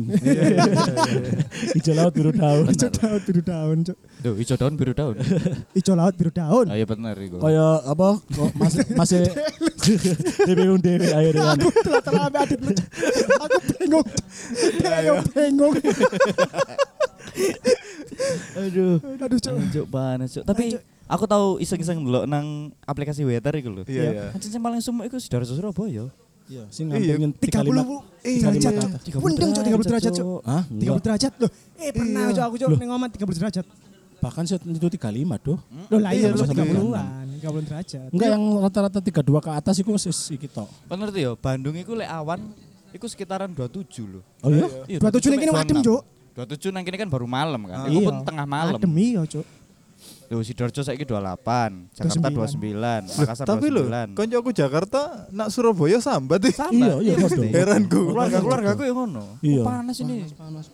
[SPEAKER 3] hijau laut biru daun.
[SPEAKER 2] Hijau daun biru daun, Cok.
[SPEAKER 1] Duh, hijau daun biru daun.
[SPEAKER 2] Hijau laut biru daun.
[SPEAKER 1] Ayo bener iku.
[SPEAKER 3] Kayak apa? kok Masih masih [laughs] dia bingung dhewe ayo dengan.
[SPEAKER 2] Aku telah telah ambil adit lu. Aku bengong. Ayo bengong.
[SPEAKER 1] Aduh.
[SPEAKER 2] Aduh, Cok.
[SPEAKER 1] Anjuk panas, Cuk. Tapi
[SPEAKER 2] Anjuk.
[SPEAKER 1] Aku tahu iseng-iseng dulu nang aplikasi weather iku lho.
[SPEAKER 4] Iya, iya.
[SPEAKER 1] Anjing sing paling sumuk iku Sidoarjo Surabaya.
[SPEAKER 3] Iya, sing
[SPEAKER 4] Iya,
[SPEAKER 3] ngampingin
[SPEAKER 2] 30 eh, derajat. Cuk. Pundeng cok 30 derajat cok.
[SPEAKER 3] Hah? Iya.
[SPEAKER 2] 30 derajat loh. Eh pernah cok aku cok ning omah 30 derajat.
[SPEAKER 3] Bahkan set itu 35 doh.
[SPEAKER 2] Loh lah iya
[SPEAKER 4] Iya,
[SPEAKER 2] cok,
[SPEAKER 4] iya.
[SPEAKER 2] 30-an, 30 derajat. Iya,
[SPEAKER 3] Enggak yang rata-rata 32 ke atas iku wis iki tok.
[SPEAKER 1] Bener tuh ya, Bandung iku lek awan iku sekitaran 27 lho.
[SPEAKER 3] Oh iya.
[SPEAKER 1] Iya,
[SPEAKER 2] 27 nang kene
[SPEAKER 1] mek
[SPEAKER 2] adem,
[SPEAKER 1] jam
[SPEAKER 2] Cuk.
[SPEAKER 1] 6. 27 nang kene kan baru malam
[SPEAKER 2] Ah.
[SPEAKER 1] kan. Iku
[SPEAKER 2] Iya.
[SPEAKER 1] pun tengah malam.
[SPEAKER 2] Adem iya cok.
[SPEAKER 1] Loh, Sidoarjo saiki 28, Jakarta 29,
[SPEAKER 4] Loh,
[SPEAKER 1] Makassar
[SPEAKER 4] tapi lho,
[SPEAKER 1] 29.
[SPEAKER 4] konco aku Jakarta, nak Surabaya sambat ih. [laughs]
[SPEAKER 3] Iya, iya padha.
[SPEAKER 4] Heran ku.
[SPEAKER 1] Keluarga keluarga aku yang ngono. Oh,
[SPEAKER 3] Iya.
[SPEAKER 1] Panas ini.
[SPEAKER 2] Anjing
[SPEAKER 1] Panas,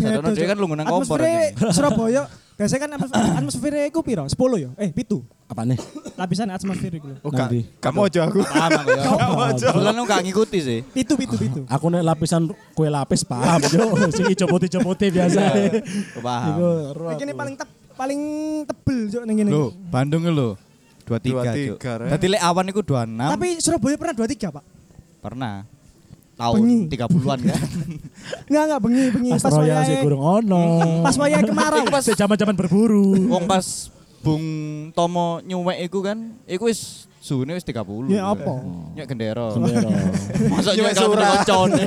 [SPEAKER 2] beda,
[SPEAKER 1] Dono. Dia
[SPEAKER 2] Cuk.
[SPEAKER 1] kan lungu nang kompor,
[SPEAKER 2] Atmosfere
[SPEAKER 1] anjing.
[SPEAKER 2] [laughs] Surabaya biasanya kan
[SPEAKER 1] [laughs]
[SPEAKER 2] atmos- atmosfere iku piro? 10 ya? Eh 7.
[SPEAKER 3] Apa nih?
[SPEAKER 2] Lapisan atmosfer iku lho.
[SPEAKER 4] Oh, gak,
[SPEAKER 3] Nanti.
[SPEAKER 4] gak mau aja aku.
[SPEAKER 1] Paham aku ya. Kebetulan aku gak ngikuti sih.
[SPEAKER 2] Pitu, pitu, pitu.
[SPEAKER 3] Aku nek lapisan kue lapis paham [laughs] yo. Sing ijo putih-ijo putih biasa. Iku
[SPEAKER 2] Iya.
[SPEAKER 1] Paham.
[SPEAKER 3] ro
[SPEAKER 2] Iki
[SPEAKER 3] aku.
[SPEAKER 2] ini paling tep, paling tebel cok ning kene.
[SPEAKER 1] Loh, Bandung lho. 23,
[SPEAKER 4] 23,
[SPEAKER 1] Cuk.
[SPEAKER 4] Ren.
[SPEAKER 1] Dadi lek awan iku 26.
[SPEAKER 2] Tapi Surabaya pernah 23, Pak.
[SPEAKER 1] pernah tahun
[SPEAKER 2] Bengi.
[SPEAKER 1] 30-an kan.
[SPEAKER 2] [laughs] Enggak, enggak bengi, bengi
[SPEAKER 3] Pas royal sih
[SPEAKER 2] Iya, wayahe-
[SPEAKER 3] kurang ono.
[SPEAKER 2] Pas wayahe kemarau.
[SPEAKER 1] Iku pas
[SPEAKER 3] Sejaman-jaman
[SPEAKER 1] [laughs]
[SPEAKER 3] berburu.
[SPEAKER 1] wong pas Bung Tomo nyuwek iku kan, iku wis suhune wis 30.
[SPEAKER 2] Ya, apa?
[SPEAKER 1] Nyek gendera.
[SPEAKER 3] Gendera.
[SPEAKER 1] [laughs] Masa nyuwek
[SPEAKER 4] Nyuwek
[SPEAKER 1] surat kocone.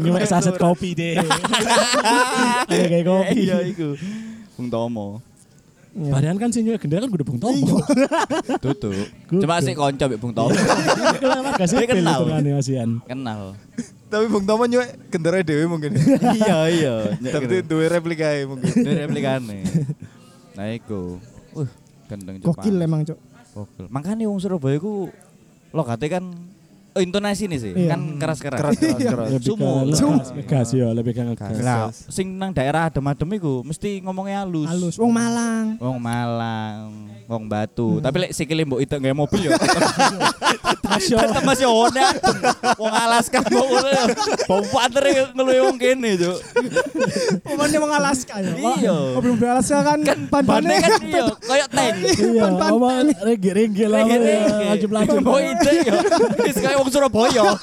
[SPEAKER 3] Nyuwek saset kopi deh. Ada kayak kopi.
[SPEAKER 1] [laughs] Iya iku. Bung Tomo.
[SPEAKER 3] Padahal kan sih nyuwek gendera kan udah bung tomo. [laughs]
[SPEAKER 1] Tutup.
[SPEAKER 3] Good,
[SPEAKER 1] Cuma
[SPEAKER 3] good.
[SPEAKER 1] sih konco mbek Bung Tomo.
[SPEAKER 3] Warga sipil
[SPEAKER 1] kenal.
[SPEAKER 3] hitungannya masihan.
[SPEAKER 1] Kenal.
[SPEAKER 4] Tapi Bung Tomo nyuwek gendera dhewe mungkin. ya.
[SPEAKER 1] Iya iya.
[SPEAKER 4] Tapi duwe replikae mungkin.
[SPEAKER 1] Dari replikane. Nah iku. Wah, gendeng Jepang.
[SPEAKER 2] Gokil emang cok.
[SPEAKER 1] Gokil. Makanya wong Surabaya ku logate kan eh, intonasi nih sih,
[SPEAKER 2] Iya.
[SPEAKER 1] kan keras-keras.
[SPEAKER 4] Keras keras keras.
[SPEAKER 3] Lebih ke
[SPEAKER 1] Sumo.
[SPEAKER 3] ngegas,
[SPEAKER 1] Sumo.
[SPEAKER 3] ngegas ya, lebih ke ngegas.
[SPEAKER 1] Lah, sing nang daerah adem-adem iku mesti ngomongnya halus.
[SPEAKER 2] Halus, wong Malang.
[SPEAKER 1] Wong Malang, wong Batu. Tapi lek sikile mbok itek nggawe mobil ya.
[SPEAKER 3] Masya
[SPEAKER 1] Hmm. [laughs] Tetep masih Honda. Wong Alaska kok ngono ya. Bau pater ngeluwe wong kene, Cuk.
[SPEAKER 2] Omongnya Oh, wong Alaska ya.
[SPEAKER 1] Iya.
[SPEAKER 2] Kok belum di Alaska kan?
[SPEAKER 1] Bandane kan iya, koyo tank.
[SPEAKER 3] Iya,
[SPEAKER 2] Pan-pan
[SPEAKER 3] apa renggi-renggi lah.
[SPEAKER 2] ya,
[SPEAKER 1] Rege-rege.
[SPEAKER 3] Laju laju.
[SPEAKER 1] Mbok itek ya. Wis kaya wong Surabaya.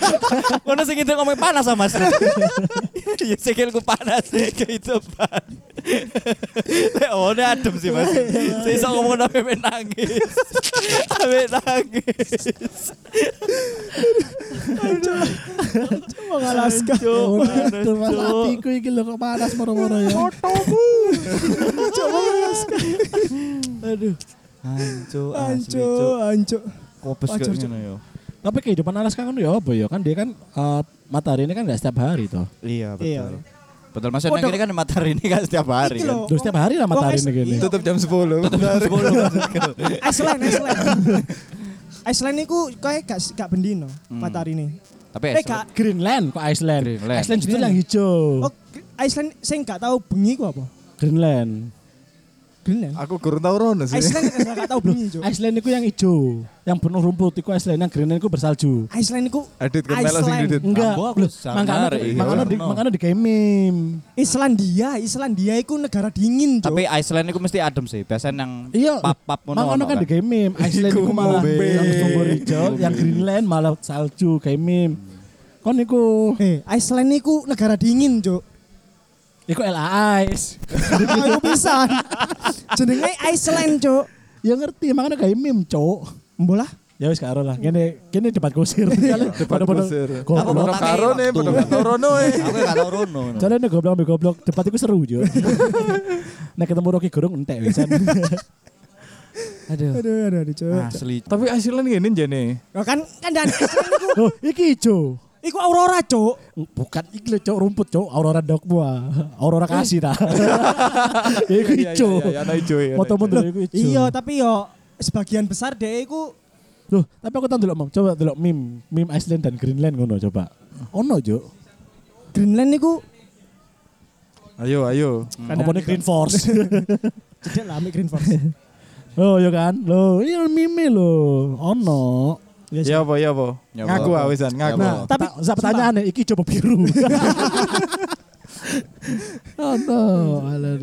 [SPEAKER 1] Ngono sing itek ngomong panas sama Mas. [laughs] Ya sikilku panas kehidupan. Lek ono adem sih Mas. Sing iso ngomong apa men nangis. Ape nangis.
[SPEAKER 2] wong Alaska.
[SPEAKER 1] Cuk, panas,
[SPEAKER 3] Tuh mas
[SPEAKER 1] Cuk.
[SPEAKER 3] hatiku iki lho kok panas moro-moro ya.
[SPEAKER 1] Aduh. Hancur, asli,
[SPEAKER 2] Anco,
[SPEAKER 1] Cuk.
[SPEAKER 2] anco.
[SPEAKER 1] Kopes
[SPEAKER 2] Hancur,
[SPEAKER 1] kayak
[SPEAKER 2] Cuk.
[SPEAKER 1] ngono ya.
[SPEAKER 3] Tapi kehidupan Alaska kan ya apa ya kan dia kan eh, matahari ini kan nggak setiap hari toh.
[SPEAKER 1] Iya,
[SPEAKER 2] Iya.
[SPEAKER 1] betul. Betul Mas Enang
[SPEAKER 2] Waduh.
[SPEAKER 1] ini kan matahari ini kan setiap hari
[SPEAKER 2] Iki
[SPEAKER 1] kan.
[SPEAKER 2] lho.
[SPEAKER 3] Duh, setiap hari lah matahari ini gini.
[SPEAKER 4] Tutup jam 10. benar.
[SPEAKER 1] [laughs]
[SPEAKER 2] Iceland, Iceland. Iceland iku kayak gak gak bendino
[SPEAKER 1] Hmm.
[SPEAKER 2] matahari ini.
[SPEAKER 1] Tapi
[SPEAKER 2] Eh
[SPEAKER 1] seru.
[SPEAKER 2] gak
[SPEAKER 3] Greenland kok Iceland.
[SPEAKER 1] Greenland.
[SPEAKER 3] Iceland justru yang hijau.
[SPEAKER 2] Oh, Iceland sing gak tahu bengi ku apa?
[SPEAKER 3] Greenland.
[SPEAKER 2] Greenland.
[SPEAKER 4] Aku kurang tahu rono sih.
[SPEAKER 2] Iceland
[SPEAKER 4] [laughs]
[SPEAKER 2] [laughs] gak tahu bengi, Cuk.
[SPEAKER 3] Iceland itu yang hijau, yang penuh rumput itu Iceland, yang Greenland itu bersalju.
[SPEAKER 2] Iceland iku
[SPEAKER 4] Adit kan melo sing
[SPEAKER 2] Iceland.
[SPEAKER 4] didit.
[SPEAKER 3] Enggak,
[SPEAKER 1] Ambo aku
[SPEAKER 3] loh,
[SPEAKER 1] sangar,
[SPEAKER 3] makanya
[SPEAKER 1] iya.
[SPEAKER 3] makanya di
[SPEAKER 1] Ono.
[SPEAKER 3] makanya di kayak meme.
[SPEAKER 2] Islandia, Islandia iku negara dingin, Cuk.
[SPEAKER 1] Tapi Iceland itu mesti adem sih. Biasanya yang
[SPEAKER 3] Iya,
[SPEAKER 1] pap-pap ngono
[SPEAKER 3] makanya kan
[SPEAKER 1] kan.
[SPEAKER 3] di kayak meme. Iceland
[SPEAKER 4] Iku
[SPEAKER 3] itu malah
[SPEAKER 4] ngombe.
[SPEAKER 3] yang sumber hijau, yang Greenland malah salju kayak meme. Kon iku,
[SPEAKER 2] Eh, Iceland iku negara dingin, [laughs] Cuk.
[SPEAKER 3] iku LAIS.
[SPEAKER 2] Aku pisan. Jenenge Iceland, Cuk.
[SPEAKER 3] [laughs] ya ngerti, makanya kayak meme, cok.
[SPEAKER 2] Mbolah.
[SPEAKER 3] Ya wis karo lah. Kene kene debat kusir. Debat
[SPEAKER 4] kusir.
[SPEAKER 1] Apa
[SPEAKER 3] Goblok.
[SPEAKER 1] goblok?
[SPEAKER 4] Kurang karo nih, bener gak tahu rono eh.
[SPEAKER 1] Aku gak tau rono.
[SPEAKER 3] Soalnya nek goblok ambek goblok debat iku seru yo. Nek ketemu Rocky Gerung entek wisan. [laughs]
[SPEAKER 1] Aduh.
[SPEAKER 2] Aduh, Ah. aduh, aduh, Cuk.
[SPEAKER 1] Asli.
[SPEAKER 4] Tapi Iceland ngene jane.
[SPEAKER 2] Loh, kan kan dan Iceland iku
[SPEAKER 3] Loh, Oh, iki ijo.
[SPEAKER 2] iku aurora, Cuk.
[SPEAKER 3] Bukan iki lho cok rumput cok Aurora dog buah. Aurora kasih ta. Iku ijo.
[SPEAKER 4] Ya ana ijo ya.
[SPEAKER 3] Foto mundur iku ijo.
[SPEAKER 2] Iya, tapi yo sebagian besar deh iku
[SPEAKER 3] Loh, tapi aku tau delok mem. Coba delok meme, meme Iceland dan Greenland ngono coba. Ono cok.
[SPEAKER 2] Greenland niku
[SPEAKER 4] Ayo ayo.
[SPEAKER 3] Apa nih Green Force? [laughs]
[SPEAKER 2] cedek lah ambil Green [laughs] Force.
[SPEAKER 3] Loh, yo kan. Loh, iya meme lho. Ono. Iya,
[SPEAKER 4] Ya apa ya apa.
[SPEAKER 1] Ya apa,
[SPEAKER 4] Ngaku
[SPEAKER 1] apa.
[SPEAKER 4] ah wisan
[SPEAKER 1] Ya apa.
[SPEAKER 4] ngaku.
[SPEAKER 3] Nah,
[SPEAKER 2] Tapi-
[SPEAKER 3] tapi saya pertanyaannya, iki coba biru. oh no,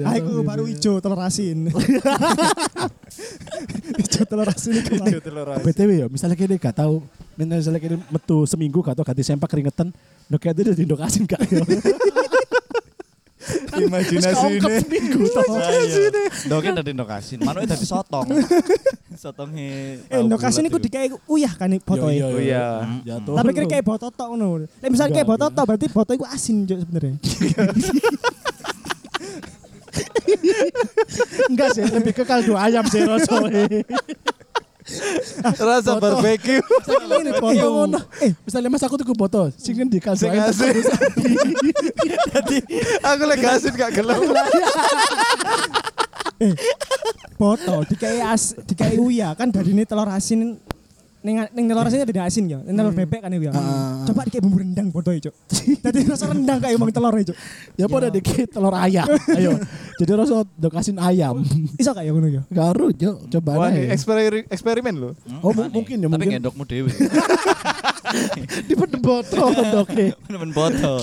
[SPEAKER 2] Ah, iku baru ijo telur [laughs] asin. ijo telur asin iku.
[SPEAKER 4] Ijo telur asin.
[SPEAKER 3] BTW ya, misalnya kini gak tahu, misalnya kini metu seminggu gak tahu ganti sempak keringetan, no kayak itu udah diindok asin gak ya.
[SPEAKER 2] Kan
[SPEAKER 4] imajinasi
[SPEAKER 3] kaungkep
[SPEAKER 4] ini.
[SPEAKER 3] seminggu toh.
[SPEAKER 2] Iya,
[SPEAKER 1] Iya, Doke dari Ndokasin, manuke dari
[SPEAKER 3] [laughs]
[SPEAKER 1] sotong. Sotonge.
[SPEAKER 2] Eh, no kasih niku dikai uyah kan iki botoe.
[SPEAKER 3] Yo, yo, yo.
[SPEAKER 4] Iya.
[SPEAKER 1] Hmm,
[SPEAKER 3] Jatuh.
[SPEAKER 2] Tapi kira kayak botot tok ngono. Lah misalnya kayak
[SPEAKER 3] Enggak,
[SPEAKER 2] botot tok berarti botot iku asin juk
[SPEAKER 3] [laughs]
[SPEAKER 2] sebenarnya.
[SPEAKER 3] enggak sih, lebih ke kaldu ayam sih rasane.
[SPEAKER 4] Rasa barbeque.
[SPEAKER 3] Saiki ini
[SPEAKER 2] Iya,
[SPEAKER 3] foto.
[SPEAKER 2] ngono.
[SPEAKER 3] Eh, misalnya Mas aku tuku foto, sing endi kaldu
[SPEAKER 4] Sing
[SPEAKER 3] ayam?
[SPEAKER 4] asin.
[SPEAKER 3] [laughs]
[SPEAKER 4] Aku lagi asin gak gelem.
[SPEAKER 2] Botot dikai as dikai uyah kan dari ini telur asin Neng, neng telur asin tidak asin ya, neng telur bebek kan ya.
[SPEAKER 3] Hmm. Ah.
[SPEAKER 2] Coba dikai bumbu rendang botoe cuk. [laughs] Tadi rasa rendang kayak emang telur e, cuk.
[SPEAKER 3] Ya pada dikit telur ayam. Ayo. Jadi rasa dokasin ayam.
[SPEAKER 2] Iso kayak ngono
[SPEAKER 3] [laughs]
[SPEAKER 2] ya.
[SPEAKER 3] Garu, yo, coba
[SPEAKER 4] Wah, ini [laughs]
[SPEAKER 3] aja.
[SPEAKER 4] eksperi- eksperimen loh.
[SPEAKER 3] Oh, mu- mungkin
[SPEAKER 1] hmm,
[SPEAKER 3] ya,
[SPEAKER 1] Tapi
[SPEAKER 3] mungkin.
[SPEAKER 1] ngendokmu dhewe.
[SPEAKER 3] [laughs] Di boto doke.
[SPEAKER 1] Menemen foto.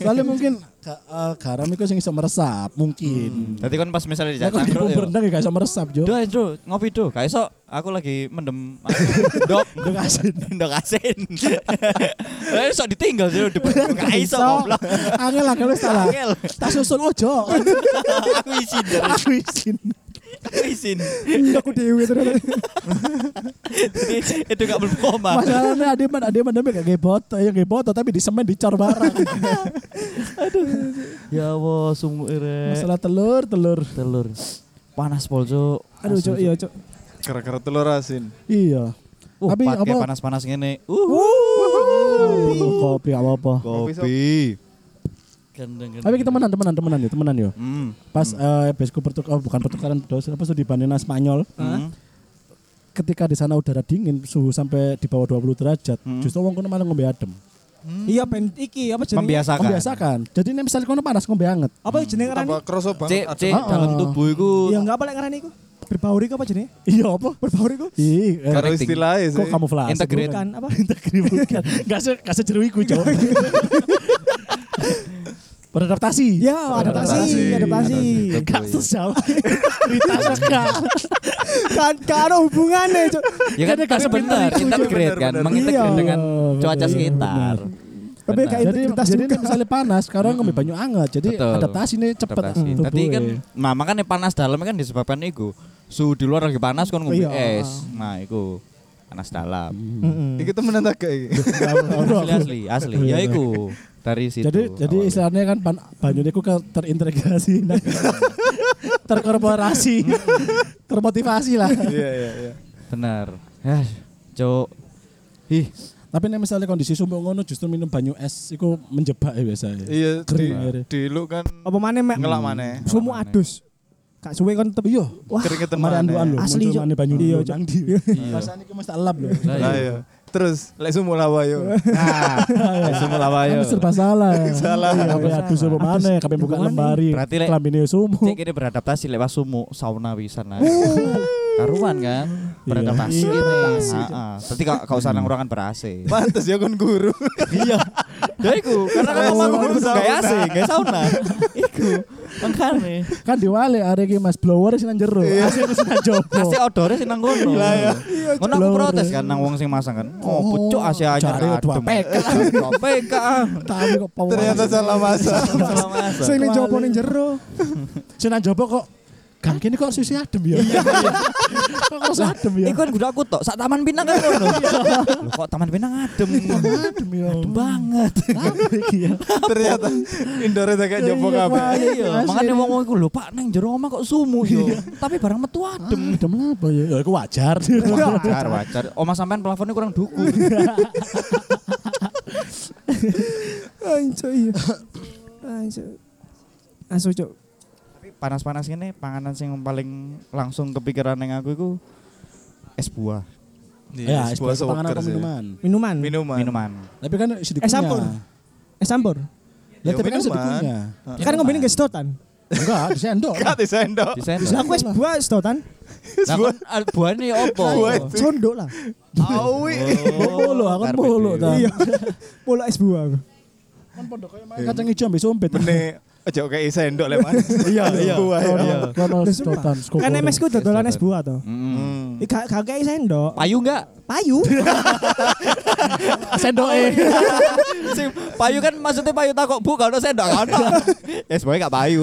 [SPEAKER 3] Soalnya mungkin ga- eh, garam itu sing iso meresap, mungkin.
[SPEAKER 1] Tadi kan pas misalnya
[SPEAKER 3] Ya
[SPEAKER 1] dijak
[SPEAKER 3] kok di
[SPEAKER 1] nangkruk
[SPEAKER 3] bumbu
[SPEAKER 1] ya.
[SPEAKER 3] rendang ya gak iso meresap, Jo.
[SPEAKER 1] Duh, Andrew, ngopi duh. Kayak esok aku lagi
[SPEAKER 3] [laughs]
[SPEAKER 1] mendem dok
[SPEAKER 3] Ndok
[SPEAKER 1] [laughs]
[SPEAKER 3] asin.
[SPEAKER 1] ndok asin. Lah esok ditinggal sih di kayak iso goblok.
[SPEAKER 3] Angel angel wis salah.
[SPEAKER 1] Angel.
[SPEAKER 3] Tak susul ojo.
[SPEAKER 1] Aku izin, Dar.
[SPEAKER 3] Aku izin.
[SPEAKER 1] aku izin.
[SPEAKER 2] Aku dewe terus.
[SPEAKER 1] Jadi [laughs] itu gak berpoma.
[SPEAKER 3] Masalahnya ada mana ada mana gak kayak boto, ya kayak boto tapi di semen dicor barang.
[SPEAKER 1] Ya Allah, sungguh ere.
[SPEAKER 3] Masalah telur, telur.
[SPEAKER 1] telur. Panas pol, Cuk.
[SPEAKER 2] Aduh cuk, iya cuk.
[SPEAKER 4] Gara-gara telur asin.
[SPEAKER 3] Iya.
[SPEAKER 1] Uh,
[SPEAKER 3] Tapi
[SPEAKER 1] Tapi
[SPEAKER 3] apa? Uh,
[SPEAKER 1] panas-panas ngene. Uh.
[SPEAKER 3] Kopi gak apa-apa.
[SPEAKER 4] Kopi.
[SPEAKER 1] Gendeng, gendeng.
[SPEAKER 3] Tapi kita temenan, temenan, temenan ya, temenan ya.
[SPEAKER 1] Hmm.
[SPEAKER 3] Pas eh besku pertuk, oh, bukan pertukaran dos, apa studi Bandina Spanyol.
[SPEAKER 1] Hmm.
[SPEAKER 3] Ketika di sana udara dingin, suhu sampai di bawah 20 derajat, justru wong kono malah ngombe adem.
[SPEAKER 2] Iya ben iki apa jenenge?
[SPEAKER 1] Membiasakan.
[SPEAKER 3] Membiasakan. Jadi nih misalnya kono panas ngombe anget. [laughs]
[SPEAKER 2] Apa jenenge ngarani?
[SPEAKER 4] Tambah kroso
[SPEAKER 1] Cek,
[SPEAKER 4] banget.
[SPEAKER 1] cek,
[SPEAKER 3] Ah, ah.
[SPEAKER 1] dalam tubuh itu
[SPEAKER 2] Ya enggak apa lek ngarani iku. Berbaur iku apa jenenge?
[SPEAKER 3] Iya apa?
[SPEAKER 2] Berbaur iku
[SPEAKER 3] Ih, eh,
[SPEAKER 4] Karo
[SPEAKER 1] Connecting.
[SPEAKER 4] istilahnya sih.
[SPEAKER 3] kok kamu flash? [laughs]
[SPEAKER 1] Integrate.
[SPEAKER 2] bukan apa?
[SPEAKER 3] Integri bukan. Gak se gak sejeruiku, Cok. Beradaptasi.
[SPEAKER 2] Ya, adaptasi, adaptasi.
[SPEAKER 3] Gak sejauh. Cerita sekali.
[SPEAKER 2] Kan karo hubungane, Cuk.
[SPEAKER 1] ya kan
[SPEAKER 3] Karena
[SPEAKER 1] tapi
[SPEAKER 3] kadang
[SPEAKER 1] benar
[SPEAKER 3] benar,
[SPEAKER 1] integrate
[SPEAKER 4] benar,
[SPEAKER 1] kan
[SPEAKER 4] benar.
[SPEAKER 1] mengintegrate
[SPEAKER 2] Iya,
[SPEAKER 1] dengan cuaca
[SPEAKER 3] benar,
[SPEAKER 1] sekitar.
[SPEAKER 2] Tapi
[SPEAKER 1] Benar.
[SPEAKER 2] kayak
[SPEAKER 3] Jadi
[SPEAKER 2] Eh, integritas
[SPEAKER 3] jadi
[SPEAKER 2] juga.
[SPEAKER 3] nih misalnya panas, sekarang ngombe banyu anget. Jadi
[SPEAKER 1] Betul.
[SPEAKER 3] adaptasi nih cepet.
[SPEAKER 1] Adaptasi.
[SPEAKER 3] Hmm,
[SPEAKER 1] Tadi
[SPEAKER 3] tubuh,
[SPEAKER 1] kan
[SPEAKER 3] eh.
[SPEAKER 1] nah makanya panas dalam kan disebabkan itu suhu di luar lagi panas kan ngombe
[SPEAKER 3] Iya. Hmm.
[SPEAKER 1] es. Nah, itu panas dalam.
[SPEAKER 4] Iki temenan tak kayak
[SPEAKER 3] [laughs]
[SPEAKER 4] iki.
[SPEAKER 1] Asli asli asli. Ya iku dari situ.
[SPEAKER 3] [laughs] Jadi
[SPEAKER 1] Gitu.
[SPEAKER 3] jadi
[SPEAKER 1] awalnya.
[SPEAKER 3] istilahnya kan ban, banyu niku ke- terintegrasi nah. terkorporasi. termotivasi lah.
[SPEAKER 4] Iya, iya, iya.
[SPEAKER 1] benar. Hah, Eh, Cuk. Ih,
[SPEAKER 3] Tapi nih misalnya kondisi sumbung ngono justru minum banyu es itu menjebak ya biasanya.
[SPEAKER 4] Iya, di,
[SPEAKER 3] Kering akhirnya.
[SPEAKER 4] di lu kan
[SPEAKER 2] Apa maneh mek?
[SPEAKER 4] ngelak maneh.
[SPEAKER 2] Sumu adus. Kak suwe
[SPEAKER 3] kan
[SPEAKER 2] kon tetep yo. Wah,
[SPEAKER 4] Keringetan
[SPEAKER 3] Mari iya. anduan lho,
[SPEAKER 4] maneh.
[SPEAKER 2] Asli,
[SPEAKER 3] muncul
[SPEAKER 2] Cok.
[SPEAKER 3] maneh banyu
[SPEAKER 2] Iya,
[SPEAKER 3] iya,
[SPEAKER 2] Cok.
[SPEAKER 3] nang di. Rasane iki mesti elap lho.
[SPEAKER 1] lah
[SPEAKER 4] Lah
[SPEAKER 1] iya.
[SPEAKER 4] iya. Terus lek sumu lawa
[SPEAKER 3] [laughs]
[SPEAKER 4] yo. Nah,
[SPEAKER 1] Semua lawayo.
[SPEAKER 3] Kan serba salah.
[SPEAKER 4] Salah.
[SPEAKER 3] Kabeh adus opo maneh, kabeh buka lemari.
[SPEAKER 1] Berarti, Lek.
[SPEAKER 3] klambine sumu.
[SPEAKER 1] Cek ini beradaptasi lewat sumu sauna pisan lah. Karuan kan beradaptasi
[SPEAKER 3] Iya.
[SPEAKER 1] ini. Heeh. Berarti kau kau usah nang ruangan ber-AC.
[SPEAKER 4] Pantes ya kon
[SPEAKER 3] [laughs]
[SPEAKER 4] guru.
[SPEAKER 1] Iya. Ya iku, karena kan
[SPEAKER 4] Oh,
[SPEAKER 1] mama kudu
[SPEAKER 4] sauna.
[SPEAKER 1] gak AC, gak sauna. [laughs] Iku. Mangkane.
[SPEAKER 3] Kan diwale arek iki Mas blower sing nang jero. Asih wis nang jowo.
[SPEAKER 1] AC odore sing nang kono. Lah ya. Ngono aku protes kan nang wong sing masang kan. Oh, pucuk AC anyar
[SPEAKER 3] Cari dua
[SPEAKER 1] adem.
[SPEAKER 3] PK.
[SPEAKER 1] Dua ah. PK.
[SPEAKER 3] Tapi kok pawon.
[SPEAKER 4] Ternyata salah
[SPEAKER 3] Iya,
[SPEAKER 4] masa.
[SPEAKER 1] Salah masa.
[SPEAKER 2] sing ning jopo ning jero.
[SPEAKER 3] Sing nang jowo kok Gang kene kok susi adem ya. [laughs] Kok kok susi adem ya.
[SPEAKER 1] Iku kan kudu aku tok, sak Taman Pinang kan ngono. Loh, Kok Taman Pinang adem.
[SPEAKER 3] adem ya.
[SPEAKER 1] Adem banget.
[SPEAKER 4] Ternyata indoor tak kayak jopo kabeh.
[SPEAKER 1] Iya, makanya wong wong iku lho Pak nang jero omah kok sumu yo. Tapi barang metu adem.
[SPEAKER 3] Adem adem lah apa ya? Ya iku wajar.
[SPEAKER 1] Wajar, wajar. Omah sampean plafonnya kurang duku. [laughs]
[SPEAKER 2] Anjo iya. Anjo. Asu cuk.
[SPEAKER 1] panas-panas ini panganan sing paling langsung kepikiran yang aku itu es buah
[SPEAKER 3] Ya,
[SPEAKER 4] Iya,
[SPEAKER 3] es
[SPEAKER 4] sebuah
[SPEAKER 3] panganan
[SPEAKER 4] sewoker
[SPEAKER 3] atau
[SPEAKER 4] sih.
[SPEAKER 3] minuman.
[SPEAKER 2] Minuman.
[SPEAKER 4] Minuman.
[SPEAKER 1] minuman
[SPEAKER 3] Tapi kan sedikitnya.
[SPEAKER 2] Eh, sampur. Eh campur.
[SPEAKER 3] Lah
[SPEAKER 4] Ya,
[SPEAKER 3] tapi kan
[SPEAKER 4] minuman.
[SPEAKER 3] sedikitnya.
[SPEAKER 2] Kan ngombe ning sedotan.
[SPEAKER 3] Enggak, di sendok.
[SPEAKER 4] Kat di sendok.
[SPEAKER 1] di sendok
[SPEAKER 2] Lah aku es buah sedotan.
[SPEAKER 1] nah, kan, ah, buah ini opo
[SPEAKER 4] Buah itu.
[SPEAKER 2] Sondok lah.
[SPEAKER 4] Awi.
[SPEAKER 3] Bolo, aku bolo ta.
[SPEAKER 2] Iya. Pola es buah aku.
[SPEAKER 3] Kacang hijau ambil sumpit.
[SPEAKER 4] Mene Aja kayak sendok lek panas.
[SPEAKER 1] Iya, iya. Oh,
[SPEAKER 4] Buah, ya.
[SPEAKER 1] Iya.
[SPEAKER 2] Lah,
[SPEAKER 3] Kono
[SPEAKER 2] sumpah.
[SPEAKER 3] sedotan
[SPEAKER 2] Kan MS ku dodolan es buah toh.
[SPEAKER 1] Mm.
[SPEAKER 4] Hmm.
[SPEAKER 2] Ih, Gak gak kayak sendok.
[SPEAKER 1] Payu [laughs] enggak?
[SPEAKER 2] Payu.
[SPEAKER 3] Ah, sendoke.
[SPEAKER 1] Sing [laughs] payu kan maksudnya payu takok bu kalau sendok kan. Ya semuanya enggak payu.